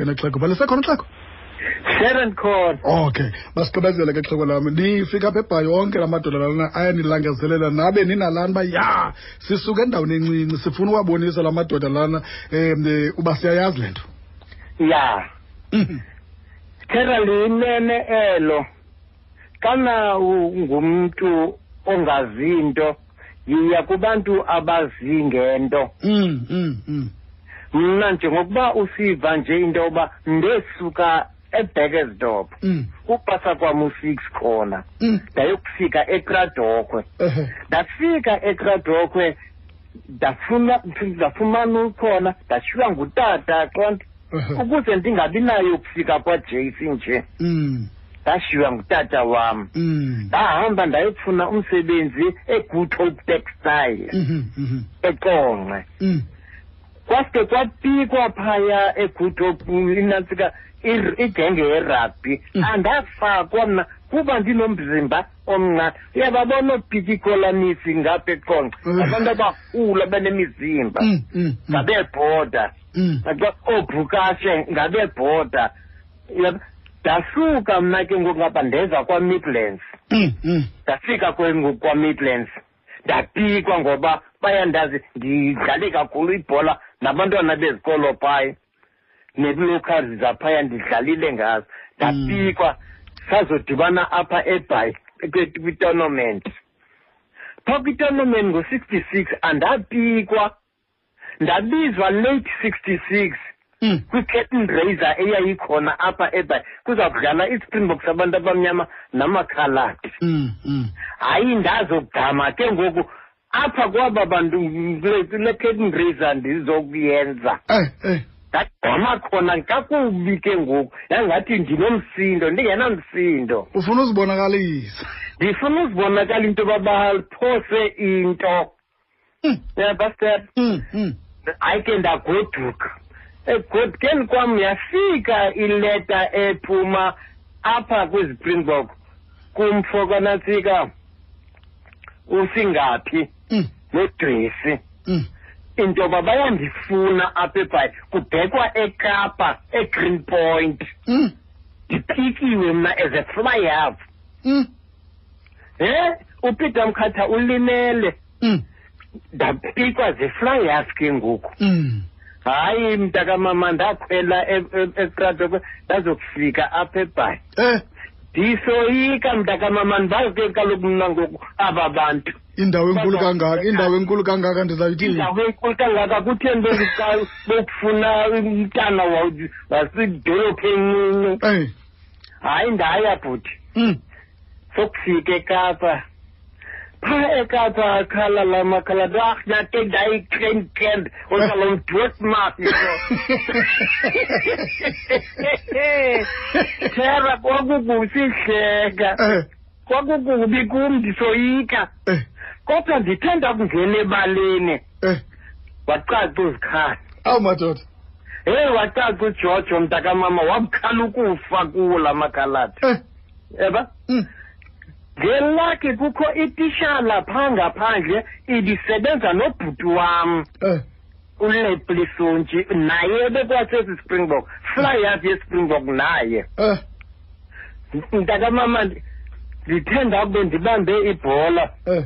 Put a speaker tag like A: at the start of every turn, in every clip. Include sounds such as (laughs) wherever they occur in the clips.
A: ngexhego baliseko nexhego
B: Sharon Court.
A: okay masigqibezele ke xhego lam nifika apha ebhayi onke la madoda lana ayanilangazelela nabe ninalani uba ya sisuke endaweni encinci sifuna uwabonisa la madoda lana um eh, uba siyayazi le nto
B: Ya.
A: Mhm.
B: Thera linene elo. Kana ungumntu ongazinto yiya kubantu abazingento.
A: Mm, mm, mm.
B: Mna njengokuba usiva nje into yoba ndesuka eBerkersdorp
A: Mm,
B: upasa kwam u-six khona
A: mm.
B: ndayokufika ekradokhwe
A: Ehe.
B: ndafika ekradokhwe ndafuna- ndafumana ukhona ndashiywa ngutata qonto
A: Ehe.
B: ukuze ndingabi nayo ukufika kwaJason nje
A: Mm,
B: ndashiywa ngutata wam
A: mm.
B: ndahamba ndayofuna umsebenzi egood hope textile
A: Mhm, mhm,
B: eqonqe
A: mm.
B: kwaske kwapikwa phaya egood hope inantsika ir- igenge yerabhi
A: Mm.
B: andafakwa mna kuba ndinomzimba omncane uyababona oopikikolanisi ngapha eqonqe
A: Mm.
B: abantu abakhulu abanemizimba
A: Mm, mm, mm.
B: ngabebhoda
A: Mm.
B: Ngathi oobhukashe ngabebhoda Yabo. ndasuka mna ke ngoku ngapha ndeza kwamidlands
A: Mm, mm.
B: ndafika ke ngoku kwamidlands ndapikwa ngoba bayandazi ndidlale kakhulu ibhola nabantwana bezikolo phaya nee-locals zaphaya ndidlalile ngazo ndapikwa sazodibana apha ebhayi kwi- kwitournament phaa kwitournament ngo-sixty six andapikwa ndabizwa late sixty six
A: Mm.
B: kwi-curtain raiser eyayikhona apha ebay kuza kudlala ispringboks abantu abamnyama namakhaladi
A: Mm, mm.
B: hayi ndazogama ke ngoku apha kwaba bantu kule- kule curtain raiser ndizokuyenza
A: Eh, eh.
B: ndagama khona kakubi ke ngoku yangathi ndinomsindo ndingenamsindo
A: ufuna uzibonakalisa
B: ndifuna uzibonakala into yoba baphose into
A: Mm,
B: yabastet
A: mm, mm.
B: hayi ke ndagoduka egodukeni kwam yafika ileta ephuma apha kwizipringbok kumfo kanatsika usingaphi
A: Mm,
B: nodresi
A: mm.
B: into yoba bayandifuna apha ebhayi kubhekwa ekapa egreen point
A: Mm,
B: ndipikiwe mna as a fly up
A: mm,
B: he upeter mkhatha ulimele
A: mm,
B: ndapikwa zifly up ke ngoku
A: mm.
B: hayi mntakamama ndakhwela e- e- ekrado ndazokufika apha ebhayi
A: Eh,
B: ndisoyika mntakamama ndibazi kaloku mna ngoku aba bantu
A: indawo enkulu kangaka indawo enkulu kangaka ndizayithini
B: indawo enkulu kangaka kutheni bekuqala bekufuna umntana wa- wasidolophu encinci
A: Eh,
B: hayi ndaya bhuti
A: mm,
B: sokufika ekapa phaa ekapa akhala la makhaladi ah nake ndayi-clan cand okalo mdwesmas thera kwakukusihleka
A: eh,
B: kwakukubi kum ndisoyika
A: eh,
B: kodwa ndithanda kungena ebaleni
A: eh.
B: wacaca uzikhala
A: awu madoda
B: he wacaca ujojo mntakamama wabukhala ukufa kuwo la makhaladi
A: eh,
B: eba
A: mm,
B: ngelakhi kukho itishala phaa ngaphandle ibisebenza nobhuti wam
A: eh,
B: uleplisontshi naye bekwasesi springbok fly up yespringbok naye
A: eh,
B: mntakamama ndi- ndithe ndakube ndibambe ibhola
A: eh.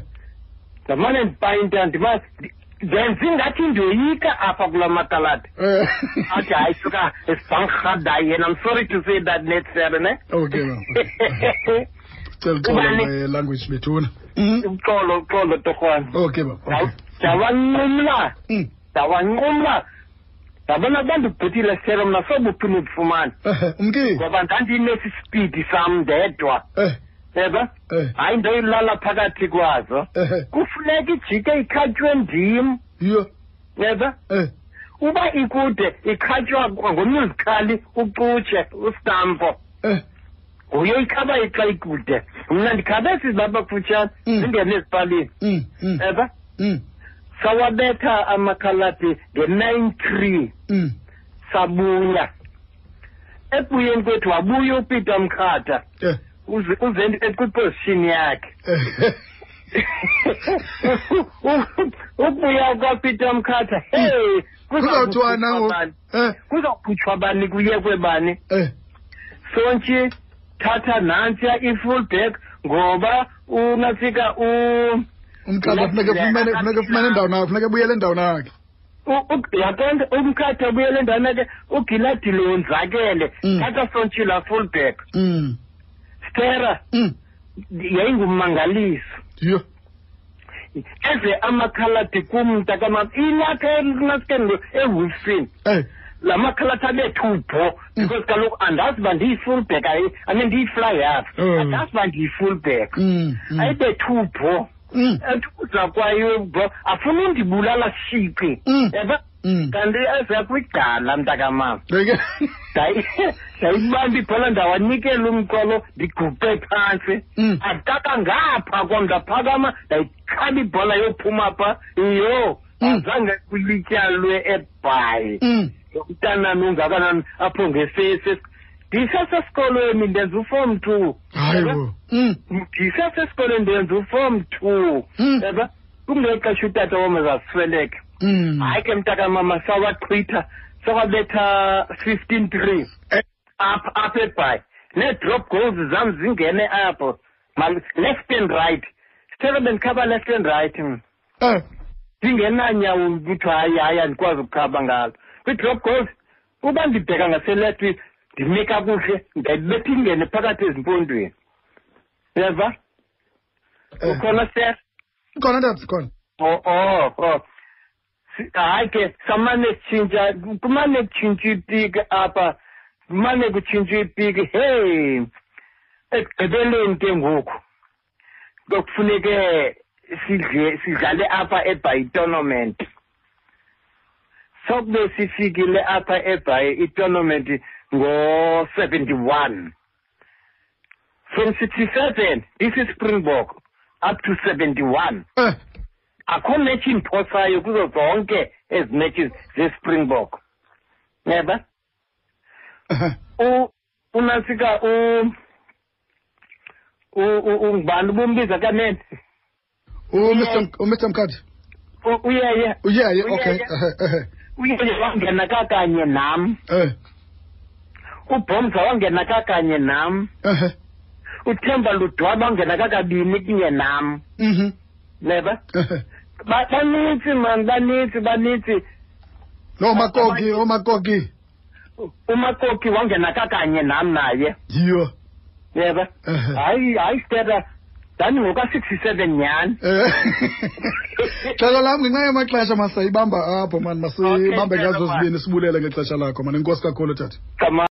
B: ndamane ndipayinta ndima ndi- ndenze ingathi ndiyoyika apha kula makalati
A: eh.
B: athi hayi suka esibhankradayi yena i'm sorry to say that net eh?" sir (laughs) ne
A: okay mama. cela
B: Ubani?
A: uxolo
B: Mm.
A: language bethuna Mhm.
B: uxolo uxolo
A: (laughs)
B: torhwana
A: okay baba okay.
B: ndawanqumla
A: Mm.
B: ndawanqumla ndabona bandibhutile selo mna sobuphinde ndifumane
A: Eh, umkile
B: ngoba ndandinesi spidi sam ndedwa
A: eh,
B: eba
A: eh,
B: hayi ndoyilala phakathi kwazo
A: eh,
B: kufuneka ijike ikhatywe ndim
A: yo
B: eba
A: eh,
B: uba ikude ikhatywa ngomuzikali ucutshe ustampo
A: eh,
B: nguye ikhaba ixa ikude mna ndikhabe sizibaba kufutshane
A: Mm.
B: zingene ezipalini
A: mm, mm,
B: eba
A: mm,
B: sawabetha amakhaladi nge-nine three
A: mm.
B: sabuya ebuyeni kwethu wabuya upeter mkhata
A: Eh, (laughs)
B: uze- uze- ekwiposition yakhe
A: eh,
B: ubuya kwapeter mkhatha hey
A: Kuzawuthiwa nawo? Eh.
B: kuzawukhutshwa bani kuyekwe bani
A: Eh,
B: sontshi thatha nantsiya i-full back ngoba unafika u
A: umqaza funeka fumene funeka fumene indawo nayo funeka ebuyele endaweni yakhe
B: yakonke umkhatha buyele ndana ke ugiladi lonzakele
A: Mm.
B: thatha sontshi la full back
A: Mm,
B: stera
A: mm,
B: yayingummangaliso
A: yho
B: eze amakhaladi kum mntakamam ilapha enaskendo ehofisini
A: eh
B: la makhaladi abethu ubho because kaloku andazi uba ndiyi-full back ane ndiyi-fly up
A: Mm.
B: andazi uba ndiyi-full back
A: mm, mm,
B: ayibethu ubho
A: mm,
B: ethuza kwayo ubho afuna undibulala shiqi
A: Mm.
B: yaba
A: mm.
B: kanti eza kwigqala mntakamama
A: Ndeke-
B: (laughs) Ndayi- ndayibamba ibhola ndawanikela umqolo ndiguqe phantsi
A: Mm.
B: akaka ngapha kwam ndaphakama ndayikhaba ibhola yophuma pha yho
A: Mm.
B: azange kulityalwe ebhayi
A: Mm,
B: nomntanami ungakanani apho ngesesi ndisesesikolweni ndenza uform two
A: hayi
B: Yaba,
A: bo Mm,
B: ndisesesikolweni ndenza uform two
A: Mm.
B: yaba kungexesha utata wam azasweleke
A: mm.
B: hayi ke mntakamama sawachitha sawabetha fifteen three
A: Eh.
B: apha apha ebhayi nee-drop goals zam zingene apho Mal- left and right sithele bendikhaba left and right hmm. mna.
A: Eh,
B: ndingenanyawo kuthiwa hayi hayi andikwazi ukukhaba ngalo kwi-drop goals uba ndibheka ngaseleft ndime kakuhle ndayibetha ingene phakathi ezimpondweni yeva
A: eh.
B: ukhona ser
A: Khona ndaba sikhona.
B: Oh, oh, oh. Si- Hayi ke, samane kutshintsha, kumane kutshintsha ipiki apha, kumane kutshintsha ipiki, hey, ekugqibeleni ke ngoku, kokufuneke sidle, sidlale apha eBhayi tournament. Sokube sifikile apha eBhayi itournament ngo-71. From 67, this is Springbok, up to 71.
A: Eh,
B: akho match imphosayo kuzo zonke ezi matches ze-springbok yeba
A: eh,
B: U- unantsika u- u- u- ungubani ubumbiza kanene
A: u Mr. Mk- u Mr. Mkhadi.
B: U- uyeye
A: Yeah, yeah, okay.
B: Uyeye.
A: Eh, eh,
B: uyeye wangena kakanye nam
A: eh,
B: ubhomza wangena kakanye nam
A: eh, eh.
B: uthemba ludwaba wangena kakabini kunye nam
A: Mhm.
B: yeba
A: Eh, eh.
B: Ba- banintsi mani banintsi banintsi
A: No makoki, o makoki.
B: U- umakoki wangena kakanye nam naye
A: Yho.
B: yeba
A: Eh, eh. (laughs)
B: hayi hayi stera ndandingoka-sixty-seven nyhani
A: Eh. Xesha lam ngenxa yamaxesha masayibamba apho mani masibambe
B: Okay,
A: ngazo
B: gentlemen.
A: zibini sibulele ngexesha lakho mani. Inkosi kakhulu tata.
B: Gama-